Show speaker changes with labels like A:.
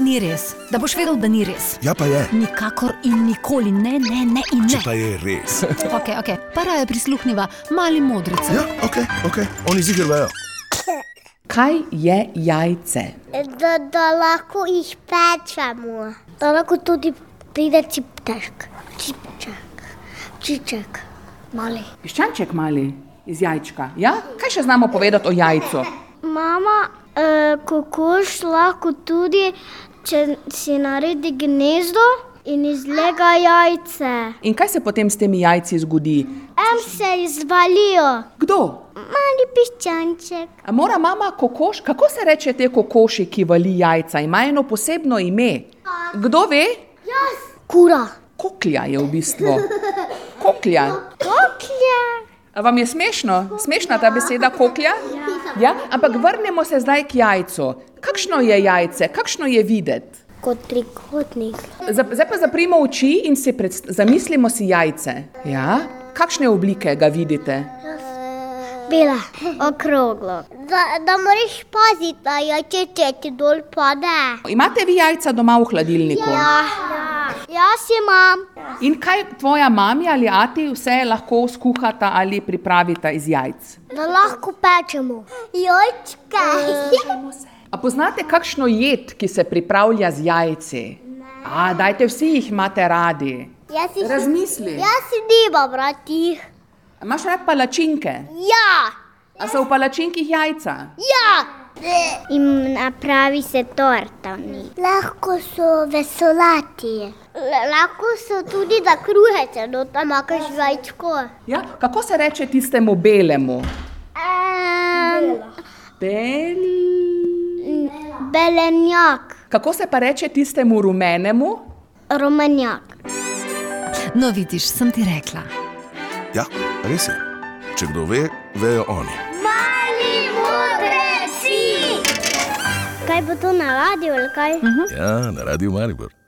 A: ni res, da boš vedel, da ni res.
B: Ja, pa je.
A: Nikakor in nikoli ne, ne, ne in
B: Če
A: ne.
B: pa je res.
A: Okay, okay. Para je prisluhnila mali modrici.
B: Ja, ok, ok, oni zigrajo.
C: Kaj je jajce?
D: Da, da lahko jih pečemo. Da lahko tudi pride cipček, cipček, čiček, mali.
C: Piščanček mali iz jajčka. Ja? Kaj še znamo povedati o jajcu?
D: Mama, eh, kokoš lahko tudi, če si naredi gnezdo in izlega jajce.
C: In kaj se potem s temi jajci zgodi?
D: Em se izvalijo,
C: Kdo?
D: mali piščanček.
C: A mora mama kokoš, kako se reče te kokoši, ki vali jajca, ima eno posebno ime. Kdo ve?
D: Jaz. Kura.
C: Koklja je v bistvu. Koklja.
D: Koklje.
C: A vam je smešno? Smešna ta beseda koklja? Ja, ampak vrnemo se zdaj k jajcu. Kakšno je jajce, kakšno je videti?
D: Kot trikotnik.
C: Za- Zdaj pa zaprimo oči in si predst- zamislimo si jajce. Ja? Kakšne oblike ga vidite?
D: Bela, okroglo. Da, da moraš paziti, da jajče ti dol pade.
C: Imate vi jajca doma v hladilniku?
D: Ja. Jaz imam.
C: In kaj tvoja mama ali ati vse lahko skuhata ali pripravita iz jajc?
D: Da lahko pečemo. Eh, Jojčka.
C: A poznate kakšno jed, ki se pripravlja z jajci? A, dajte vsi jih imate radi.
D: Jaz jih
C: Razmisli.
D: Jaz si diva, brati.
C: A Imaš rad palačinke?
D: Ja,
C: A so v palačinkih jajca?
D: ja. In napravi se torta. Lahko so vesolati. Lahko so tudi za kruhece, no tam imaš žvajčko.
C: Ja? Kako se reče tistemu belemu?
D: Um,
C: Bel...
D: belenjak,
C: Kako se pa reče tistemu rumenemu?
D: romanjak.
A: No, vidiš, sem ti rekla.
B: Ja, res je. Če kdo ve, vejo oni.
D: Mali modri si! Kaj bo to na radiju ali kaj?
B: Mhm. Ja, na radiju Maribor.